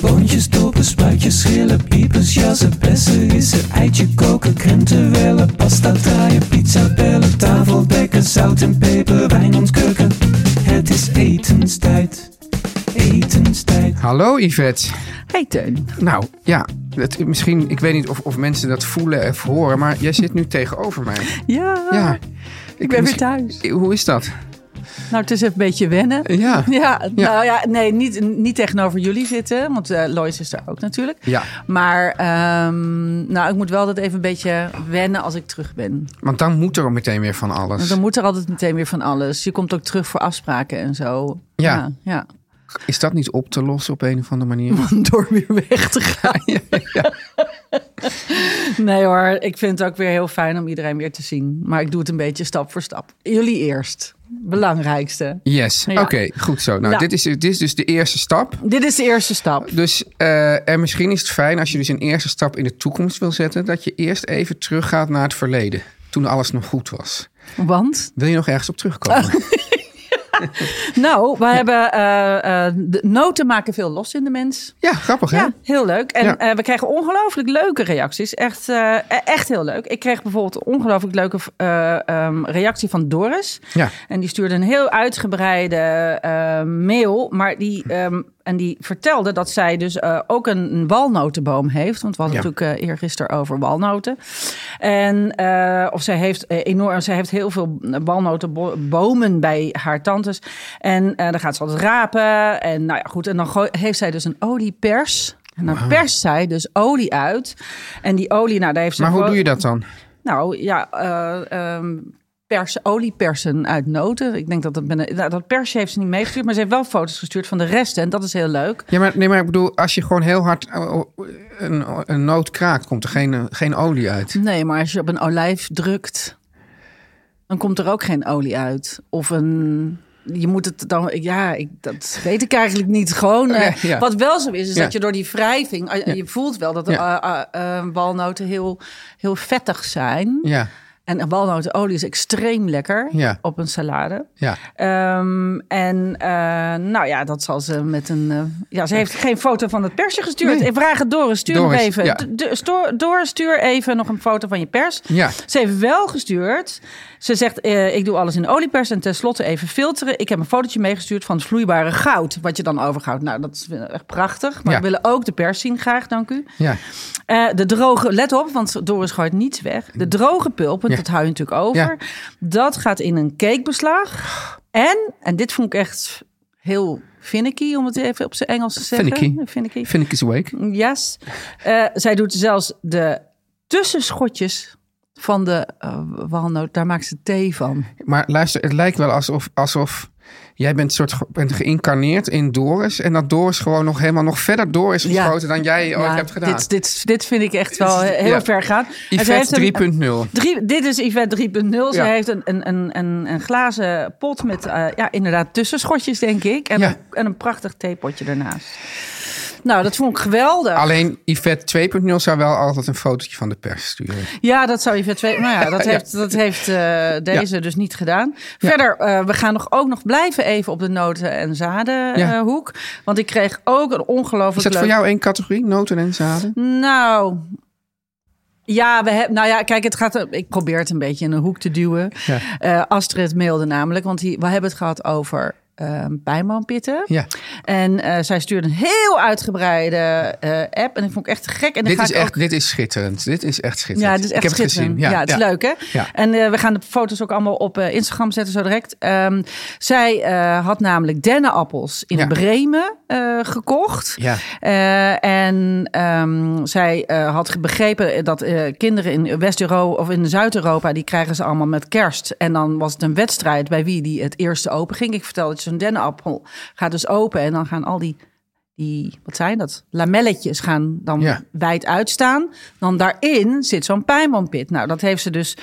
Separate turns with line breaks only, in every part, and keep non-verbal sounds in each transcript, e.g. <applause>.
Boontjes, dopen, spuitjes, schillen, piepers, jassen, bessen, rissen, eitje koken, krenten wellen, pasta draaien, pizza bellen, tafel dekken, zout en peper, wijn ontkurken. Het is etenstijd, etenstijd.
Hallo Yvette.
Hey Teun.
Nou ja, het, misschien, ik weet niet of, of mensen dat voelen of horen, maar jij zit nu tegenover mij.
Ja,
Ja.
ik ben weer
misschien-
thuis.
Hoe is dat?
Nou, het is even een beetje wennen.
Ja.
<laughs> Ja,
Ja.
nou ja, nee, niet, niet tegenover jullie zitten, want eh Lois is er ook natuurlijk.
Ja.
Maar ehm, nou, ik moet wel dat even een beetje wennen als ik terug ben.
Want dan moet er meteen weer van alles.
Want dan moet er altijd meteen weer van alles. Je komt ook terug voor afspraken en zo.
Ja.
Ja, ja.
Is dat niet op te lossen op een of andere
<laughs>
manier?
Door weer weg te gaan. Nee hoor, ik vind het ook weer heel fijn om iedereen weer te zien. Maar ik doe het een beetje stap voor stap. Jullie eerst. Belangrijkste.
Yes,
Ja.
oké, goed zo. Nou,
Nou.
Dit, is, dit is dus de eerste stap.
Dit is de eerste stap.
Dus, eh, en misschien is het fijn als je dus een eerste stap in de toekomst wil zetten, dat je eerst even teruggaat naar het verleden, toen alles nog goed was.
Want
Wil je nog ergens op
<laughs>
terugkomen?
Nou, we hebben eh, eh, de noten maken veel los in de mens.
Ja, grappig hè?
Ja, heel leuk. En
Ja.
eh, we kregen ongelooflijk leuke reacties. Echt, eh, e- echt heel leuk. Ik kreeg bijvoorbeeld een ongelooflijk leuke eh, ehm, reactie van Doris.
Ja.
En die stuurde een heel uitgebreide eh, mail. Maar die,
Hm.
ehm, en die vertelde dat zij dus eh, ook een, een walnotenboom heeft. Want we hadden
Ja.
natuurlijk eh eergisteren over walnoten. En eh, of zij heeft eh, enorm, zij heeft heel veel walnotenbomen bij haar tantes. En eh dan gaat ze altijd rapen. En nou ja, goed. En dan gooi- heeft zij dus een oliepers. En dan perst zij dus olie uit. En die olie, nou daar heeft ze
Maar hoe
gewoon-
doe je dat dan?
nou ja, eh ehm, persen, oliepersen uit noten. Ik denk dat dat, binnen, nou, dat persje heeft ze niet meegestuurd, maar ze heeft wel foto's gestuurd van de resten. En dat is heel leuk.
Ja, maar, nee, maar ik bedoel, als je gewoon heel hard eh, een, een noot kraakt, komt er geen, eh, geen olie uit.
Nee, maar als je op een olijf drukt, dan komt er ook geen olie uit. Of een. Je moet het dan. Ja, ik, dat weet ik eigenlijk niet. Gewoon. eh,
Oké, ja.
Wat wel zo is, is
Ja.
dat je door die wrijving. eh, Je voelt wel dat de,
Ja.
eh, eh, eh, walnoten heel, heel vettig zijn.
Ja,
En een walnotenolie is extreem lekker
Ja.
op een salade.
ja.
Ehm, en eh, nou ja, dat zal ze met een. eh, ja, ze heeft geen foto van het persje gestuurd.
Nee.
Ik vraag het Doris, stuur hem
Doris,
even.
ja.
D- d- stoor- Doris, stuur even nog een foto van je pers.
Ja.
Ze heeft wel gestuurd. Ze zegt: eh, Ik doe alles in oliepers en tenslotte even filteren. Ik heb een fotootje meegestuurd van het vloeibare goud. Wat je dan overhoudt. Nou, dat is eh, echt prachtig. Maar
Ja.
we willen ook de pers zien, graag, dank u.
ja.
Eh, de droge, let op, want Doris gooit niets weg. De droge pulpen,
Ja.
dat hou je natuurlijk over. Dat gaat in een cakebeslag. En, en dit vond ik echt heel finicky, om het even op zijn Engels te zeggen.
Finicky.
Finicky.
Vind ik eens awake.
Yes. Eh, zij doet zelfs de tussenschotjes van de eh, walnoot. Daar maakt ze thee van.
Maar luister, het lijkt wel alsof, alsof jij bent, soort, ge- bent geïncarneerd in Doris. En dat Doris gewoon nog helemaal nog verder door is
Ja.
geschoten dan jij ooit
Ja,
hebt gedaan.
Dit, dit, dit vind ik echt wel heel
Ja.
ver gaan. En zij heeft een-
Yvette 3.0.
Drie, dit is Yvette 3.0. Ze
Ja.
heeft een, een, een, een, een glazen pot met eh, ja, inderdaad tussenschotjes, denk ik. En,
Ja.
een, en een prachtig theepotje daarnaast. Nou, dat vond ik geweldig.
Alleen Yvette 2.0 zou wel altijd een fotootje van de pers sturen.
Ja, dat zou Yvette
<laughs>
2... Nou ja, dat heeft, dat heeft eh, deze dus niet gedaan. Verder, eh, we gaan nog, ook nog blijven even op de noten- en
Ja.
zadenhoek. want ik kreeg ook een ongelooflijk
Is dat voor
leuk-
jou één categorie? Noten en zaden?
Nou. Ja, we hebben. nou ja, kijk, het gaat, ik probeer het een beetje in een hoek te duwen.
Ja.
Eh, Astrid mailde namelijk, want die, we hebben het gehad over eh pijnboompitten.
Ja.
En eh, zij stuurde een heel uitgebreide eh, app. En ik vond ik echt te gek. En dan
Dit
ga
is,
ik ook-
echt, dit is schitterend. Dit is echt schitterend.
ja, het is echt
ik heb het
schitterend.
gezien. Ja,
ja, het is leuk, hè?
Ja.
En eh, we gaan de foto's ook allemaal op eh, Instagram zetten zo direct. Ehm, zij eh, had namelijk dennenappels in
Ja.
Bremen eh, gekocht.
Ja.
Eh, en ehm, zij eh, had begrepen dat eh, kinderen in West-Europa of in Zuid-Europa... die krijgen ze allemaal met kerst. En dan was het een wedstrijd bij wie die het eerste open ging. Ik vertelde dat zo'n dennenappel gaat dus open. En dan gaan al die, die wat zijn dat, lamelletjes gaan dan
Ja.
wijd uitstaan. Dan daarin zit zo'n pijnboompit. Nou, dat heeft ze dus...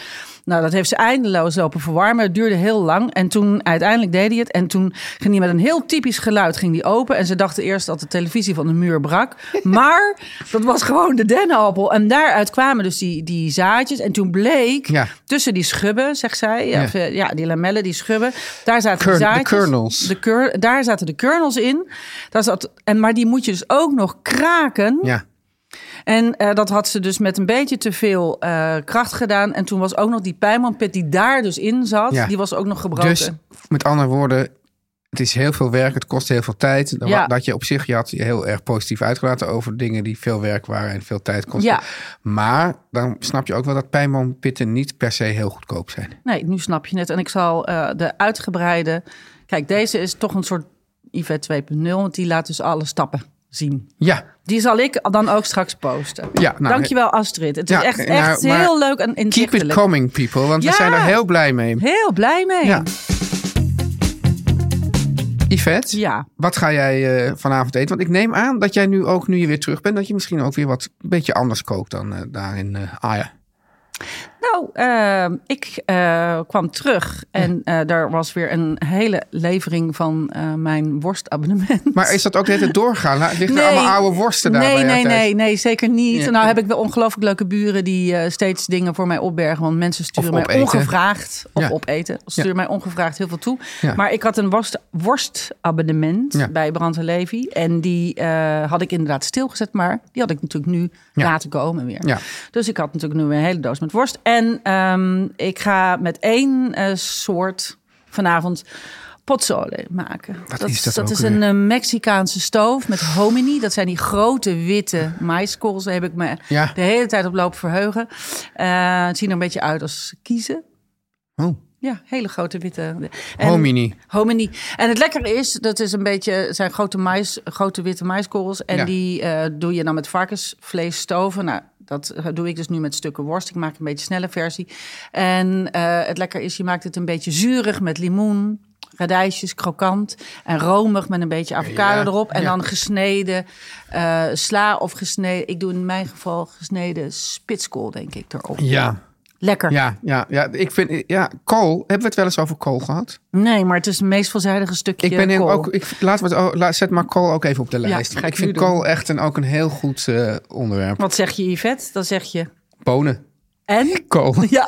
Nou, dat heeft ze eindeloos lopen verwarmen. Het duurde heel lang. En toen uiteindelijk deed hij het. En toen ging hij met een heel typisch geluid ging die open. En ze dachten eerst dat de televisie van de muur
<laughs>
brak. Maar dat was gewoon de dennenappel. En daaruit kwamen dus die, die zaadjes. En toen bleek
Ja.
tussen die schubben, zegt zij. Ja.
Ja.
of, eh, ja, die lamellen, die schubben. Daar zaten
Kern-
de
de
zaadjes.
kernels.
De keur- daar zaten de kernels in. Daar zat, en, maar die moet je dus ook nog kraken.
Ja.
En eh, dat had ze dus met een beetje te veel eh, kracht gedaan. En toen was ook nog die pijnmanpit die daar dus in zat,
Ja.
die was ook nog gebroken.
Dus met andere woorden, het is heel veel werk, het kost heel veel tijd. Dan
Ja.
wa- Dat je op zich, je had je heel erg positief uitgelaten over dingen die veel werk waren en veel tijd kosten.
Ja.
Maar dan snap je ook wel dat pijnboompitten niet per se heel goedkoop zijn.
Nee, nu snap je het. En ik zal eh, de uitgebreide. Kijk, deze is toch een soort IV 2.0, want die laat dus alle stappen zien.
Ja,
Die zal ik dan ook straks posten.
Ja, nou,
Dankjewel, Astrid. Het
Ja,
is echt,
nou,
echt
maar
heel leuk en
keep it
inzichtelijk.
coming people, want
Ja.
we zijn er heel blij mee.
Heel blij mee.
Ja. Yvette,
Ja.
wat ga jij eh, vanavond eten? Want ik neem aan dat jij nu ook, nu je weer terug bent, dat je misschien ook weer wat een beetje anders kookt dan eh, daar in eh Aja.
Nou, ehm, ik eh, kwam terug en eh, daar was weer een hele levering van eh, mijn worstabonnement.
Maar is dat ook de hele tijd doorgaan? La- Liggen er allemaal oude worsten daar? bij
Nee,
jou
nee,
thuis?
nee, nee, zeker niet.
Ja.
Nou heb ik wel ongelooflijk leuke buren die eh, steeds dingen voor mij opbergen. Want mensen sturen
Of
mij
opeten.
ongevraagd, of
Ja.
opeten, sturen
Ja.
mij ongevraagd heel veel toe.
Ja.
Maar ik had een worst, worstabonnement
Ja.
bij Brand en Levy. En die eh, had ik inderdaad stilgezet, maar die had ik natuurlijk nu
Ja.
laten komen weer.
Ja.
Dus ik had natuurlijk nu een hele doos met worst. En ehm, ik ga met één eh, soort vanavond potsole maken.
Wat is dat ook
is
alweer?
een een eh, Mexicaanse stoof met hominy. Dat zijn die grote witte maiskools. Daar heb ik me
Ja.
de hele tijd op lopen verheugen. Eh, het ziet er een beetje uit als kiezen.
Oh,
Ja, hele grote witte. En-
hominy.
Hominy. En het lekkere is, dat is een beetje, het zijn grote, mais, grote witte maiskorrels. En
Ja.
die eh, doe je dan met varkensvlees stoven. Nou, dat doe ik dus nu met stukken worst. Ik maak een beetje snelle versie. En eh, het lekker is, je maakt het een beetje zuurig met limoen, radijsjes, krokant. En romig met een beetje avocado
Ja,
erop. En
ja.
dan gesneden eh, sla of gesneden, ik doe in mijn geval gesneden spitskool, denk ik, erop.
Ja.
Lekker.
Ja, ja, ja, ik vind, ja, kool. Hebben we het wel eens over kool gehad?
Nee, maar het is het meest veelzijdige stukje
Ik ben heel-
kool.
ook, ik, laten we het, o- la- zet maar kool ook even op de
Ja,
lijst.
ga ik
ik vind
nu doen.
kool echt een, ook een heel goed eh, onderwerp.
Wat zeg je, Yvette? Dan zeg je...
Bonen,
En? <laughs>
kool. <laughs>
Ja.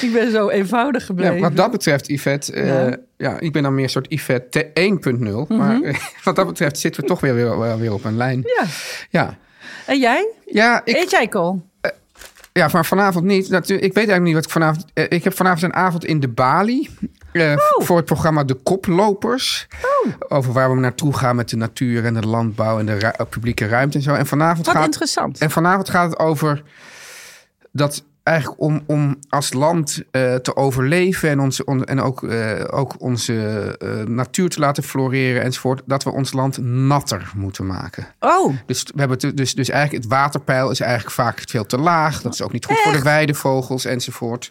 ik ben zo eenvoudig gebleven.
Ja, wat dat betreft, Yvette, eh,
Ja.
ja. ik ben dan meer een soort Yvette 1.0. Maar eh, <laughs> wat dat betreft zitten we toch weer, weer, wel weer op een lijn.
Ja.
Ja,
En jij?
ja, ik,
Eet jij kool?
ja maar vanavond niet. Natu- ik weet eigenlijk niet wat ik vanavond... eh, ik heb vanavond een avond in de Bali. eh, v-
Oh.
Voor het programma De Koplopers. Over waar we naartoe gaan met de natuur en de landbouw en de ru- eh, publieke ruimte en zo. En vanavond
Wat
gaat...
interessant.
En vanavond gaat het over dat eigenlijk om, om als land eh, te overleven en, onze, on- en ook, eh, ook onze eh, natuur te laten floreren enzovoort, dat we ons land natter moeten maken.
Oh,
Dus, we hebben het- dus, dus eigenlijk het waterpeil is eigenlijk vaak veel te laag. Dat is ook niet goed voor de weidevogels enzovoort.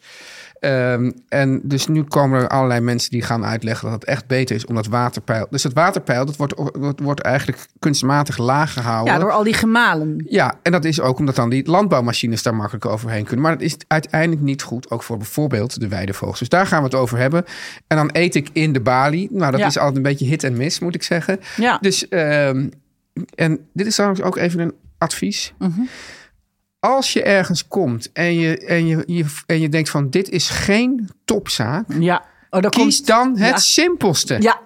Ehm, en dus nu komen er allerlei mensen die gaan uitleggen dat het echt beter is om dat waterpeil. Dus dat waterpeil dat wordt, wordt, wordt eigenlijk kunstmatig laag gehouden.
ja, door al die gemalen.
Ja, en dat is ook omdat dan die landbouwmachines daar makkelijk overheen kunnen. Maar dat is uiteindelijk niet goed, ook voor bijvoorbeeld de weidevogels. Dus daar gaan we het over hebben. En dan eet ik in de balie. Nou, dat
Ja.
is altijd een beetje hit en miss, moet ik zeggen.
Ja.
Dus, ehm, en dit is trouwens ook even een advies.
Mhm.
Als je ergens komt en je, en, je, je, en je denkt van dit is geen topzaak,
Ja. Oh, daar
kies
komt...
dan het
Ja.
simpelste.
Ja.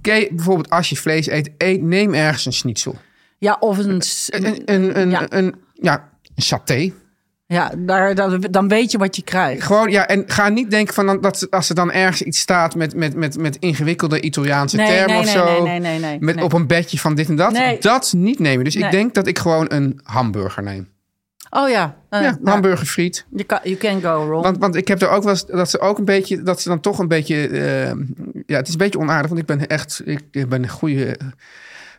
Ke- bijvoorbeeld als je vlees eet, eet neem ergens een schnitzel.
Mm,
Eh,
Ja, of een... s-
Een, een, een,
Ja.
een, ja, een saté.
Ja, daar, daar- dan weet je wat je krijgt.
Gewoon, ja, en ga niet denken van dan- dat ze- als er dan ergens iets staat met, met, met, met ingewikkelde Italiaanse
Nee,
termen
nee,
of
nee,
zo.
nee, nee, nee, nee,
met,
nee.
Op een bedje van dit en dat.
Nee.
Dat niet nemen. Dus
Nee.
ik denk dat ik gewoon een hamburger neem.
Oh ja, eh,
ja,
nou,
hamburgerfriet.
You can, you can go wrong.
Want, want ik heb er ook wel eens dat ze ook een beetje, dat ze dan toch een beetje, eh, ja, het is een beetje onaardig, want ik ben echt, ik, ik ben een goede eh,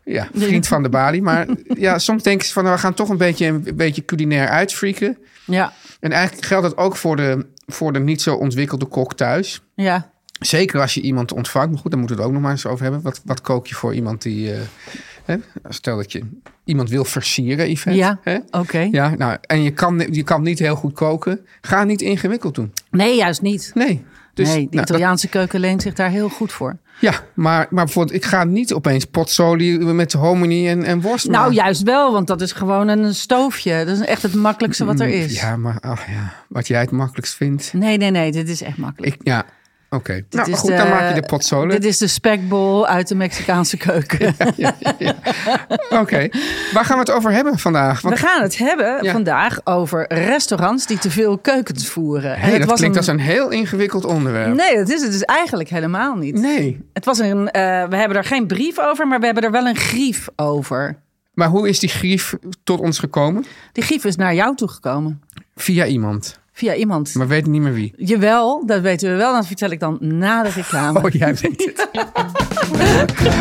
ja, vriend van de balie.
<laughs>
Maar ja, soms denken ze van, nou, we gaan toch een beetje, een beetje culinair uitfreaken.
Ja,
En eigenlijk geldt dat ook voor de, voor de niet zo ontwikkelde kok thuis.
ja.
Zeker als je iemand ontvangt. Maar goed, daar moeten we het ook nog maar eens over hebben. Wat, wat kook je voor iemand die, eh, hè? stel dat je iemand wil versieren, Yvette.
Ja,
hè?
oké.
Ja, nou, en je kan, je kan niet heel goed koken. Ga niet ingewikkeld doen.
Nee, juist niet.
Nee. Dus,
nee, de
nou, dat-
Italiaanse keuken leent zich daar heel goed voor.
ja, maar, maar bijvoorbeeld, ik ga niet opeens potsoli met hominy en, en worst
Nou,
maken.
juist wel, want dat is gewoon een stoofje. Dat is echt het makkelijkste wat er is.
Mm, Ja, maar ach ja, wat jij het makkelijkst vindt.
Nee, nee, nee, dit is echt makkelijk.
Ik, ja, oké. Nou,
is
maar goed,
de-
dan maak je de potsoli.
Dit is de spekbol uit de Mexicaanse
<laughs>
keuken.
Oké, waar gaan we het over hebben vandaag?
We
Want,
gaan het hebben
Ja.
vandaag over restaurants die te veel keukens voeren. En
hey,
het
dat
was
klinkt als een heel ingewikkeld onderwerp.
Nee, dat is het dus eigenlijk helemaal niet.
Nee.
Het was een, eh, we hebben er geen brief over, maar we hebben er wel een grief over.
Maar hoe is die grief tot ons gekomen?
Die grief is naar jou toegekomen.
Via iemand.
Via iemand.
Maar we weten niet meer wie.
Jawel, dat weten we wel. Dat vertel ik dan na de reclame.
Oh, <laughs> jij weet het. Oké.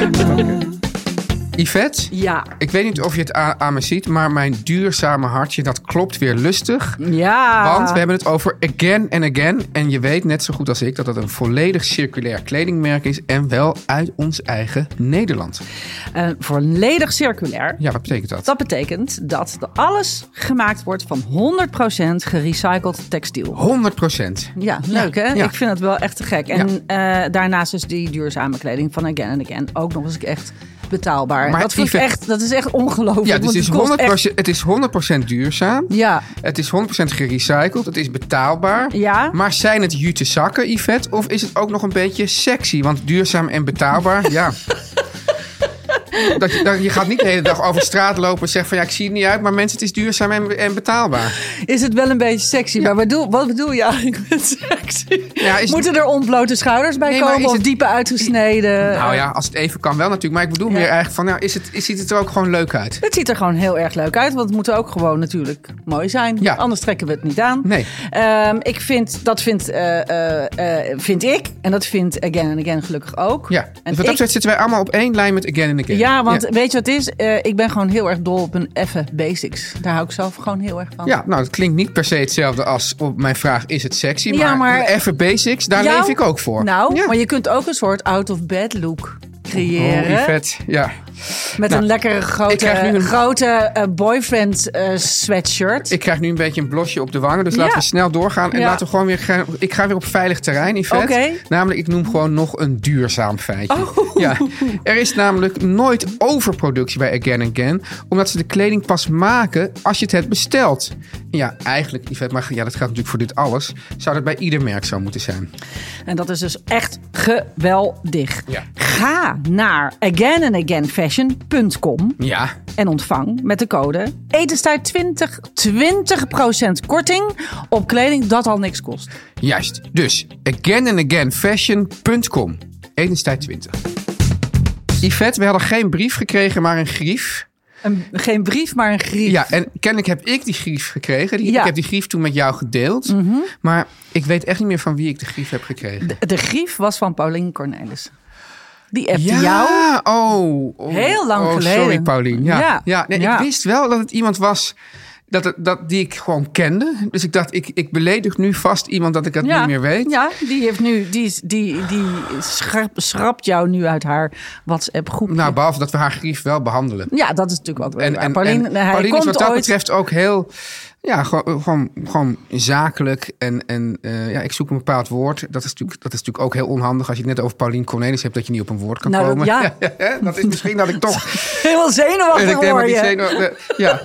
<laughs> Yvette,
Ja.
ik weet niet of je het a- aan me ziet, maar mijn duurzame hartje, dat klopt weer lustig.
Ja.
Want we hebben het over Again and Again. En je weet net zo goed als ik dat het een volledig circulair kledingmerk is. En wel uit ons eigen Nederland.
Eh, volledig circulair.
Ja, wat betekent dat?
Dat betekent dat de- alles gemaakt wordt van 100% gerecycled textiel.
100 procent.
Ja, leuk hè?
ja.
Ik vind het wel echt te gek. En eh, daarnaast is die duurzame kleding van Again and Again ook nog eens echt betaalbaar.
Maar
dat, vind ik
Yves-
echt, dat is echt ongelooflijk.
Ja, dus
want
het is,
kost
100
echt-
het is 100% duurzaam.
Ja,
Het is 100% gerecycled. Het is betaalbaar.
Ja.
Maar zijn het jute zakken, Yvette? Of is het ook nog een beetje sexy? Want duurzaam en betaalbaar, ja. Dat je, dat je gaat niet de hele dag over straat lopen en zeggen van... ja, ik zie het niet uit, maar mensen, het is duurzaam en, en betaalbaar.
is het wel een beetje sexy. Maar wat bedoel, wat bedoel je eigenlijk met sexy?
Ja, is-
Moeten er onblote schouders bij
Nee, maar
komen
is
of
het-
diepe uitgesneden?
Nou ja, als het even kan wel natuurlijk. Maar ik bedoel meer eigenlijk van... Nou, is het, is, ziet het er ook gewoon leuk uit?
Het ziet er gewoon heel erg leuk uit, want het moet ook gewoon natuurlijk mooi zijn.
Ja.
Anders trekken we het niet aan.
Nee.
Ehm, ik vind, dat vind, eh, eh, eh, vind ik, en dat vindt Again and Again gelukkig ook.
Ja, dus
en
wat dat
ik,
betreft zitten wij allemaal op één lijn met Again and Again.
ja, want weet je wat het is? Eh, ik ben gewoon heel erg dol op een effe basics. Daar hou ik zelf gewoon heel erg van.
Ja, nou, dat klinkt niet per se hetzelfde als op mijn vraag: is het sexy?
Ja,
maar,
maar-
even basics, daar
Jou-
leef ik ook voor.
Nou,
ja.
maar je kunt ook een soort out-of-bed look
Oh,
creëren.
vet. Ja.
met
Nou,
een lekkere grote,
krijg nu een-
grote eh, boyfriend eh, sweatshirt.
Ik krijg nu een beetje een blosje op de wangen, dus
Ja.
laten we snel doorgaan. En
Ja.
laten we gewoon weer. gaan- Ik ga weer op veilig terrein, Yvette.
Oké. Oh.
Namelijk, ik noem gewoon nog een duurzaam feitje. Ja. Er is namelijk nooit overproductie bij Again Again, omdat ze de kleding pas maken als je het hebt besteld. Ja, eigenlijk, Yvette, maar ja, dat geldt natuurlijk voor dit alles. Zou dat bij ieder merk zo moeten zijn?
En dat is dus echt geweldig.
Ja.
Ga naar againandagainfashion.com
Ja.
en ontvang met de code etenstijd 20 20% korting op kleding dat al niks kost.
Juist. Dus againandagainfashion.com. Etenstijd 20. Yvette, we hadden geen brief gekregen, maar een grief.
Een, geen brief, maar een grief.
Ja, en kennelijk heb ik die grief gekregen. Die,
Ja. Mhm.
Ik heb die grief toen met jou gedeeld. Maar ik weet echt niet meer van wie ik de grief heb gekregen.
De grief was van Pauline Cornelis. Die appte
ja,
jou.
Oh, oh.
Heel lang
oh,
geleden.
Sorry, Paulien. Ja,
Ja,
ja. nee,
ja.
Ik wist wel dat het iemand was dat, het- dat, die ik gewoon kende. Dus ik dacht, ik, ik beledig nu vast iemand dat ik dat niet meer weet.
ja, die heeft nu, die, is- die, die schrap- schrapt jou nu uit haar WhatsApp groep.
Nou, behalve dat we haar grief wel behandelen.
ja, dat is natuurlijk ook wel.
En,
waar.
en,
Pauline,
en
hij
Paulien
komt
is wat dat
ooit, <laughs>
betreft ook heel ja, gewoon, gewoon, gewoon zakelijk. En, en eh, ja, ik zoek een bepaald woord. Dat is, natuurlijk, dat is natuurlijk ook heel onhandig als je het net over Paulien Cornelis hebt, dat je niet op een woord kan
Nou, dat-
komen. <laughs>
ja.
dat is misschien dat
<laughs>
ik toch.
Heel zenuwachtig
en ik denk
word
dat die
je.
zenuwen- ja,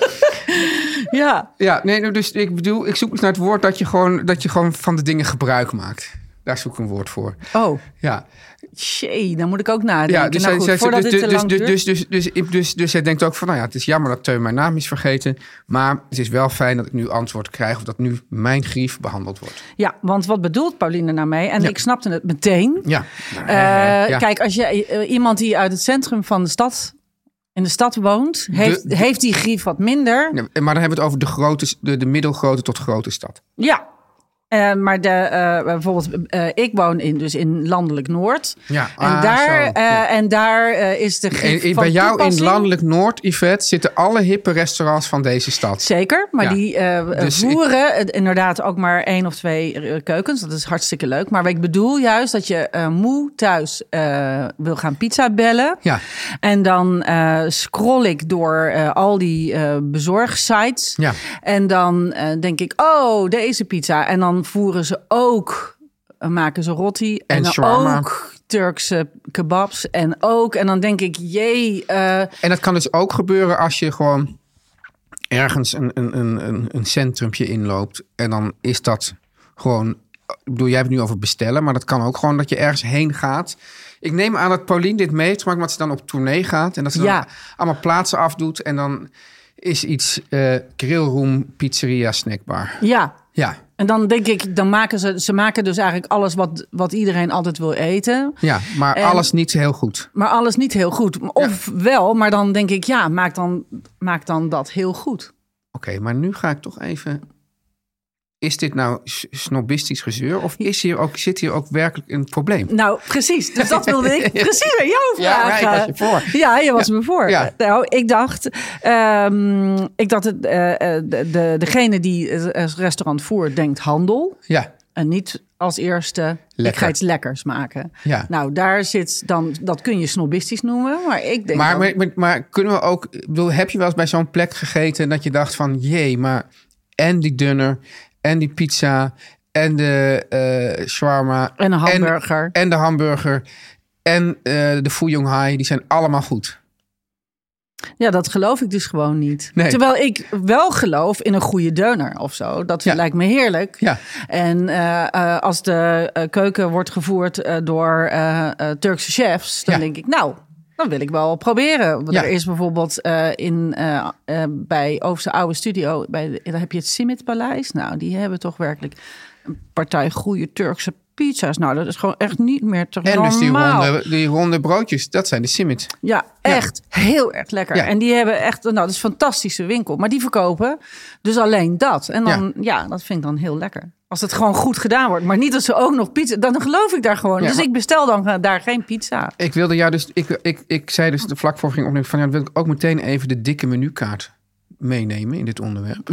Ja.
ja, nee, nou, dus ik bedoel, ik zoek dus naar het woord dat je gewoon, dat je gewoon van de dingen gebruik maakt. Daar zoek ik een woord voor.
Oh,
Ja.
Jee, dan moet ik ook nadenken.
Ja, dus,
nou
zij-
goed,
zij-
voordat
dus,
dit te
dus,
lang
dus,
duurt.
dus, dus, dus, ik- dus, dus zij denkt ook van, nou ja, het is jammer dat Teun mijn naam is vergeten. Maar het is wel fijn dat ik nu antwoord krijg of dat nu mijn grief behandeld wordt.
Ja, want wat bedoelt Pauline nou mee? En
Ja.
ik snapte het meteen.
Ja.
Eh,
Ja.
Kijk, als je eh, iemand die uit het centrum van de stad, in de stad woont, heeft,
de-
heeft die grief wat minder.
Ja, Maar dan hebben we het over de, grote, de, de middelgrote tot grote stad.
Ja. Eh, maar de, eh, bijvoorbeeld, eh, ik woon in, dus in landelijk Noord.
Ja,
en,
ah,
daar,
zo,
eh,
ja.
en daar eh, is de
En,
grief
en
van
bij jou in
toepassing.
landelijk Noord, Yvette, zitten alle hippe restaurants van deze stad.
Zeker, maar
Ja.
die eh
Dus ik-
voeren eh, inderdaad ook maar één of twee eh, keukens. Dat is hartstikke leuk. Maar ik bedoel juist dat je eh, moe thuis eh, wil gaan pizza bellen.
Ja.
En dan eh, scroll ik door eh, al die eh, bezorgsites.
Ja.
En dan eh, denk ik, oh, deze pizza. En dan voeren ze ook, eh, maken ze rotti.
En
dan
shawarma.
ook Turkse kebabs. En ook, en dan denk ik, jee, eh,
En dat kan dus ook gebeuren als je gewoon ergens een, een, een, een, een centrumpje inloopt. En dan is dat gewoon. Ik bedoel, jij hebt het nu over bestellen, maar dat kan ook gewoon dat je ergens heen gaat. Ik neem aan dat Paulien dit mee heeft gemaakt, omdat ze dan op tournee gaat. En dat ze dan
Ja.
allemaal plaatsen afdoet. En dan is iets eh grillroom, pizzeria, snackbar.
ja.
Ja,
En dan denk ik, dan maken ze, ze maken dus eigenlijk alles wat, wat iedereen altijd wil eten.
ja maar
En-
alles niet heel goed.
Maar alles niet heel goed. Of wel, maar dan denk ik, ja, maak dan, maak dan dat heel goed.
Oké, maar nu ga ik toch even. Is dit nou s- snobistisch gezeur? Of is hier ook, zit hier ook werkelijk een probleem?
Nou, precies. Dus dat wilde
<laughs>
ik precies aan jou
Ja, maar
vragen.
ik was je voor.
Ja, je was me voor.
Ja.
Nou, ik dacht, ehm, ik dacht het, eh, eh, de, de- degene die het restaurant voert, denkt handel.
Ja.
En niet als eerste, ik
Lekker.
ga iets lekkers maken.
Ja.
Nou, daar zit dan, dat kun je snobistisch noemen, maar ik denk
Maar,
dat-
maar, maar, maar kunnen we ook, ik bedoel, heb je wel eens bij zo'n plek gegeten dat je dacht van, jee, maar en die dunner, en die pizza, en de eh shawarma.
En een hamburger.
En, de hamburger, en eh, de Fuyong Hai, die zijn allemaal goed.
Ja, dat geloof ik dus gewoon niet.
Nee.
Terwijl ik wel geloof in een goede deuner of zo. Dat
Ja.
lijkt me heerlijk.
Ja.
En eh, eh, als de eh, keuken wordt gevoerd eh, door eh, eh, Turkse chefs, dan
Ja.
denk ik, nou, dan wil ik wel proberen. Want
Ja.
Er is bijvoorbeeld eh, in, eh, eh, bij Overse Oude Studio, bij de- daar heb je het Simit Paleis. Nou, die hebben toch werkelijk een partij goede Turkse pizza's. Nou, dat is gewoon echt niet meer te
En
normaal.
dus die ronde, die ronde broodjes, dat zijn de simit.
Ja,
Ja.
echt heel erg lekker.
Ja.
En die hebben echt, nou, dat is een fantastische winkel. Maar die verkopen dus alleen dat. En dan, ja. dat vind ik dan heel lekker. Als het gewoon goed gedaan wordt. Maar niet dat ze ook nog pizza, dan geloof ik daar gewoon.
Ja,
dus
maar-
ik bestel dan eh, daar geen pizza.
Ik wilde jou dus, ik, ik, ik zei dus de vlak voor ging opnemen van, ja, dan wil ik ook meteen even de dikke menukaart meenemen in dit
<laughs>
onderwerp.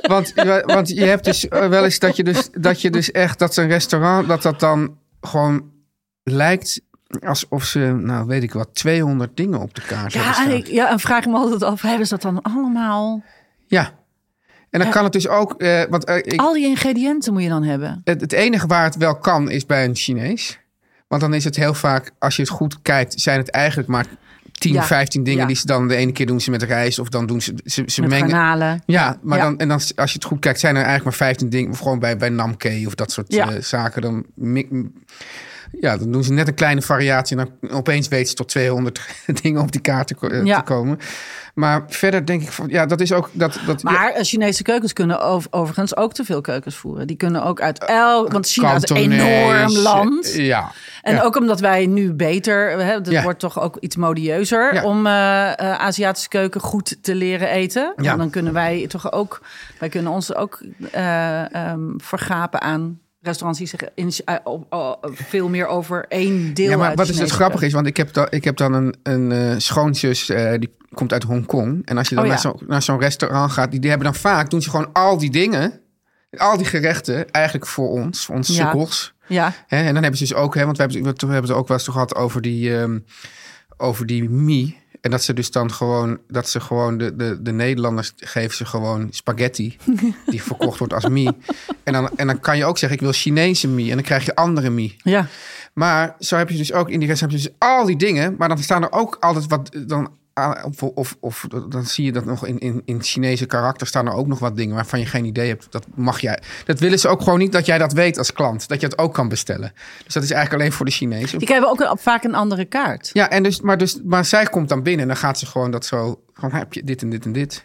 want, want je hebt dus eh, wel eens dat je dus, dat je dus echt, dat een restaurant, dat dat dan gewoon lijkt alsof ze, nou weet ik wat, 200 dingen op de kaart hebben
Ja,
staan.
en, ik, ja, en vraag ik me altijd af, hebben ze dat dan allemaal?
Ja. En dan kan het dus ook, eh, want eh, ik,
Al die ingrediënten moet je dan hebben.
Het, het enige waar het wel kan is bij een Chinees. Want dan is het heel vaak, als je het goed kijkt, zijn het eigenlijk maar 10,
Ja,
15 dingen
ja.
die ze dan de ene keer doen ze met rijst of dan doen ze, ze, ze
Met
mengen.
garnalen.
Ja, maar
Ja.
Dan, en dan, als je het goed kijkt, zijn er eigenlijk maar 15 dingen. Of gewoon bij, bij Namke of dat soort
Ja.
eh, zaken. Dan, mi- ja, dan doen ze net een kleine variatie. En dan opeens weten ze tot 200 <laughs> dingen op die kaart te, ko- eh,
Ja.
te komen. Maar verder denk ik, van, ja, dat is ook. Dat, dat, ja,
Maar eh, Chinese keukens kunnen ov- overigens ook te veel keukens voeren. Die kunnen ook uit elk... Want China is een
Eh, Kantonees,
enorm land.
eh, Ja.
En
ja.
ook omdat wij nu beter, hè, het
Ja.
wordt toch ook iets modieuzer
Ja.
om eh, eh, Aziatische keuken goed te leren eten.
Ja.
En dan kunnen wij toch ook, wij kunnen ons ook eh, ehm, vergapen aan restaurants die zich in, eh, op- op- veel meer over één deel.
Ja, maar
uit
wat is het
Chinese
grappige
keuken.
is, want ik heb, dan ik heb dan een, een eh, schoonzus eh, die komt uit Hongkong. En als je dan
Oh, ja.
naar zo'n naar zo'n restaurant gaat, die, die hebben dan vaak, doen ze gewoon al die dingen, al die gerechten, eigenlijk voor ons, voor ons
Ja.
sukkels.
Ja,
Hè, en dan hebben ze dus ook, hè, want we hebben, het- we hebben het ook wel eens gehad over die, ehm over die mie. En dat ze dus dan gewoon, dat ze gewoon, de, de, de Nederlanders geven ze gewoon spaghetti. Die verkocht wordt als
<laughs>
mie. En dan, en dan kan je ook zeggen, ik wil Chinese mie. En dan krijg je andere mie.
ja.
Maar zo heb je dus ook in die rest heb je dus al die dingen. Maar dan staan er ook altijd wat eh, dan a- of, of, of dan zie je dat nog in, in, in Chinese karakter staan er ook nog wat dingen waarvan je geen idee hebt. Dat mag jij. Dat willen ze ook gewoon niet dat jij dat weet als klant. Dat je het ook kan bestellen. Dus dat is eigenlijk alleen voor de Chinezen.
Die krijgen ook een- vaak een andere kaart.
Ja, en dus, maar, dus, maar zij komt dan binnen en dan gaat ze gewoon dat zo. Gewoon heb je dit en dit en dit.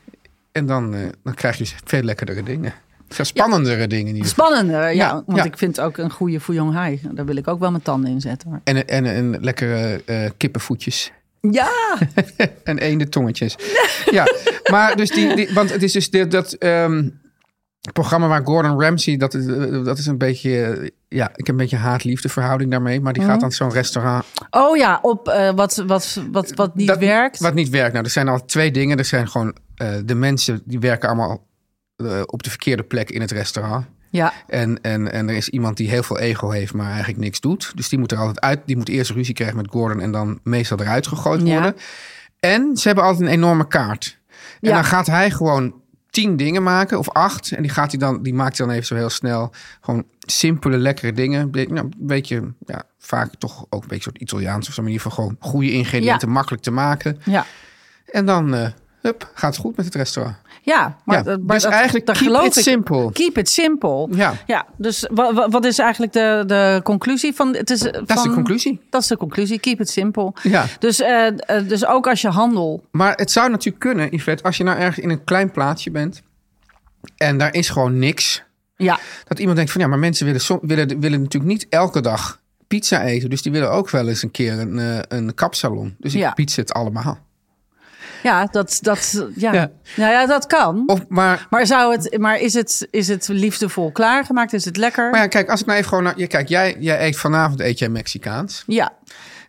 En dan, eh, dan krijg je dus veel lekkerdere dingen. Veel spannendere dingen. In ieder geval.
Spannender, ja.
Ja,
want
ja.
ik vind ook een goede Fuyong Hai. Daar wil ik ook wel mijn tanden in zetten. hoor.
En, en, en lekkere eh, kippenvoetjes.
Ja,
en eende tongetjes. <laughs> Ja, maar dus die, die- want het is dus dit, dat ehm, programma waar Gordon Ramsay, dat is, eh, dat is een beetje, eh, ja, ik heb een beetje haat-liefde verhouding daarmee, maar die gaat dan zo'n restaurant.
oh ja, op eh, wat, wat, wat, wat niet
dat,
werkt.
Wat niet werkt. Nou, er zijn al twee dingen. Er zijn gewoon eh, de mensen die werken allemaal eh, op de verkeerde plek in het restaurant.
Ja,
En, en, en er is iemand die heel veel ego heeft, maar eigenlijk niks doet. Dus die moet er altijd uit. Die moet eerst ruzie krijgen met Gordon en dan meestal eruit gegooid
Ja.
worden. En ze hebben altijd een enorme kaart. En
Ja.
dan gaat hij gewoon tien dingen maken of acht. En die, gaat hij dan, die maakt hij dan even zo heel snel. Gewoon simpele, lekkere dingen. Be- nou, een beetje, ja, vaak toch ook een beetje soort Italiaans of zo. Maar in ieder geval gewoon goede ingrediënten makkelijk te maken.
ja.
En dan, eh, hup, gaat het goed met het restaurant.
Ja, maar,
Ja,
dat- maar
dus
dat-
eigenlijk
daar
keep
geloof
it
ik-
simple.
Keep it simple.
Ja.
ja dus wa- wa- wat is eigenlijk de, de conclusie van... Het is, eh,
Dat is de
van-
conclusie.
Dat is de conclusie, keep it simple.
Ja.
Dus, eh, eh, dus ook als je handel...
Maar het zou natuurlijk kunnen, Yvette, als je nou ergens in een klein plaatsje bent en daar is gewoon niks.
Ja,
Dat iemand denkt van ja, maar mensen willen, som- willen, willen natuurlijk niet elke dag pizza eten. Dus die willen ook wel eens een keer een, eh, een kapsalon. Dus ik
Ja.
pizza het allemaal.
ja, dat, dat, ja.
Ja.
Ja. ja, dat kan.
Of, maar,
Maar, zou het, maar is, het, is het liefdevol klaargemaakt? Is het lekker?
maar ja, kijk, als ik nou even gewoon naar... Ja, kijk, jij, jij eet vanavond eet jij Mexicaans.
ja.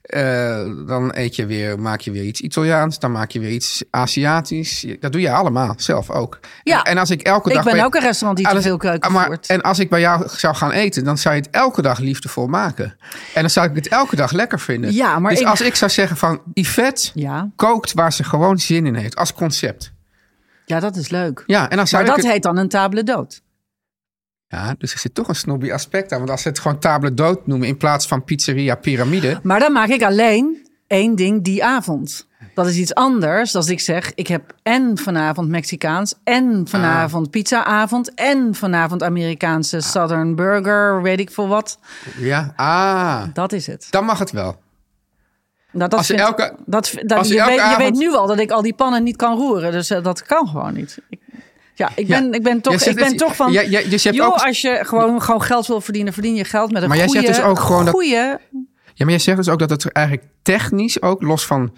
Eh, dan eet je weer, maak je weer iets Italiaans. Dan maak je weer iets Aziatisch. Je- Dat doe je allemaal, zelf ook.
Ja.
En als ik elke
Ik
dag...
ben
bij-
ook een restaurant die te
Alles- Ah,
veel keuken
maar-
voert.
En als ik bij jou zou gaan eten, dan zou je het elke dag liefdevol maken. En dan zou ik het elke dag lekker vinden.
Ja, maar
dus
ik-
als ik zou zeggen van Yvette
Ja.
kookt waar ze gewoon zin in heeft. Als concept.
ja, dat is leuk.
Ja, en dan zou
maar dat
ik het-
heet dan een table d'hôte.
Ja, dus er zit toch een snobby aspect aan. Want als ze het gewoon table d'hôte noemen in plaats van pizzeria piramide.
Maar dan maak ik alleen één ding die avond. Dat is iets anders dan als ik zeg: ik heb en vanavond Mexicaans, en
Ah.
vanavond pizzaavond, en vanavond Amerikaanse Southern Burger, weet ik veel wat.
Ja, ah,
Dat is het.
dan mag het wel.
Nou, dat
Als je
vind-
elke-
dat, vind- dat-
als je
je,
elke
weet,
avond-
je weet nu al dat ik al die pannen niet kan roeren, dus eh, dat kan gewoon niet. Ik, ja, ik
Ja.
ben, ik ben toch,
Jij zegt
ik ben
dat-
toch van.
Ja, ja, dus je hebt
joh,
ook-
als je gewoon, gewoon geld wil verdienen, verdien je geld met een
Maar jij zegt
goede,
dus ook gewoon dat-
goede
Ja, maar jij zegt dus ook dat het er eigenlijk technisch ook los van.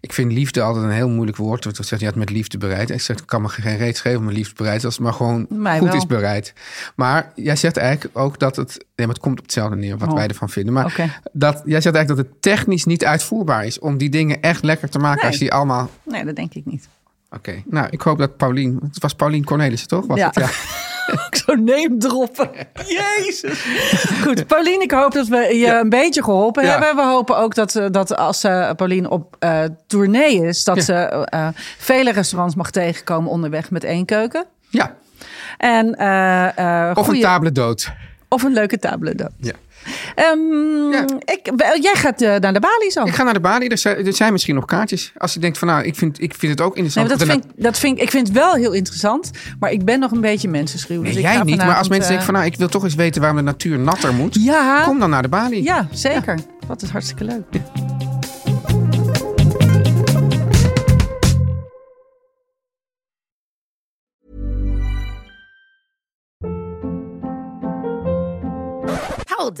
Ik vind liefde altijd een heel moeilijk woord. Want dat zegt je had met liefde bereid. Ik zeg, ik kan me geen reet schrijven met liefde bereid. Als het maar gewoon
Mij
goed
wel.
is bereid. Maar jij zegt eigenlijk ook dat het. Nee, maar het komt op hetzelfde neer wat
Oh.
wij ervan vinden. Maar
Oké.
dat, jij zegt eigenlijk dat het technisch niet uitvoerbaar is. om die dingen echt lekker te maken.
Nee.
als je die allemaal.
Nee, dat denk ik niet.
Oké. Nou, ik hoop dat Paulien. Het was Paulien Cornelissen, toch? Was
Ja.
Het? ja.
Ook zo neemdroppen.
<laughs>
Jezus. Goed, Paulien, ik hoop dat we je een beetje geholpen
Ja.
hebben. We hopen ook dat, eh, dat als eh Paulien op eh tournee is, dat
Ja.
ze eh, eh, vele restaurants mag tegenkomen onderweg met één keuken.
ja.
En, eh, eh,
Of
goeie-
een table dood.
of een leuke table d'hôte.
Ja.
Ehm,
Ja.
ik, wel, jij gaat eh, naar de Bali zo.
Ik ga naar de balie. Er zijn, er zijn misschien nog kaartjes. Als je denkt van nou, ik vind, ik vind het ook
Nee,
interessant.
maar dat
om er
vind, ik- dat vind, ik- ik vind het wel heel interessant, maar ik ben nog een beetje mensenschuw.
Nee,
dus ik
jij
ga
niet, maar als
vanavond,
mensen denken van
eh,
nou, ik wil toch eens weten waarom de natuur natter moet.
Ja.
Kom dan naar de balie.
Ja, zeker. Dat is hartstikke leuk.
Hold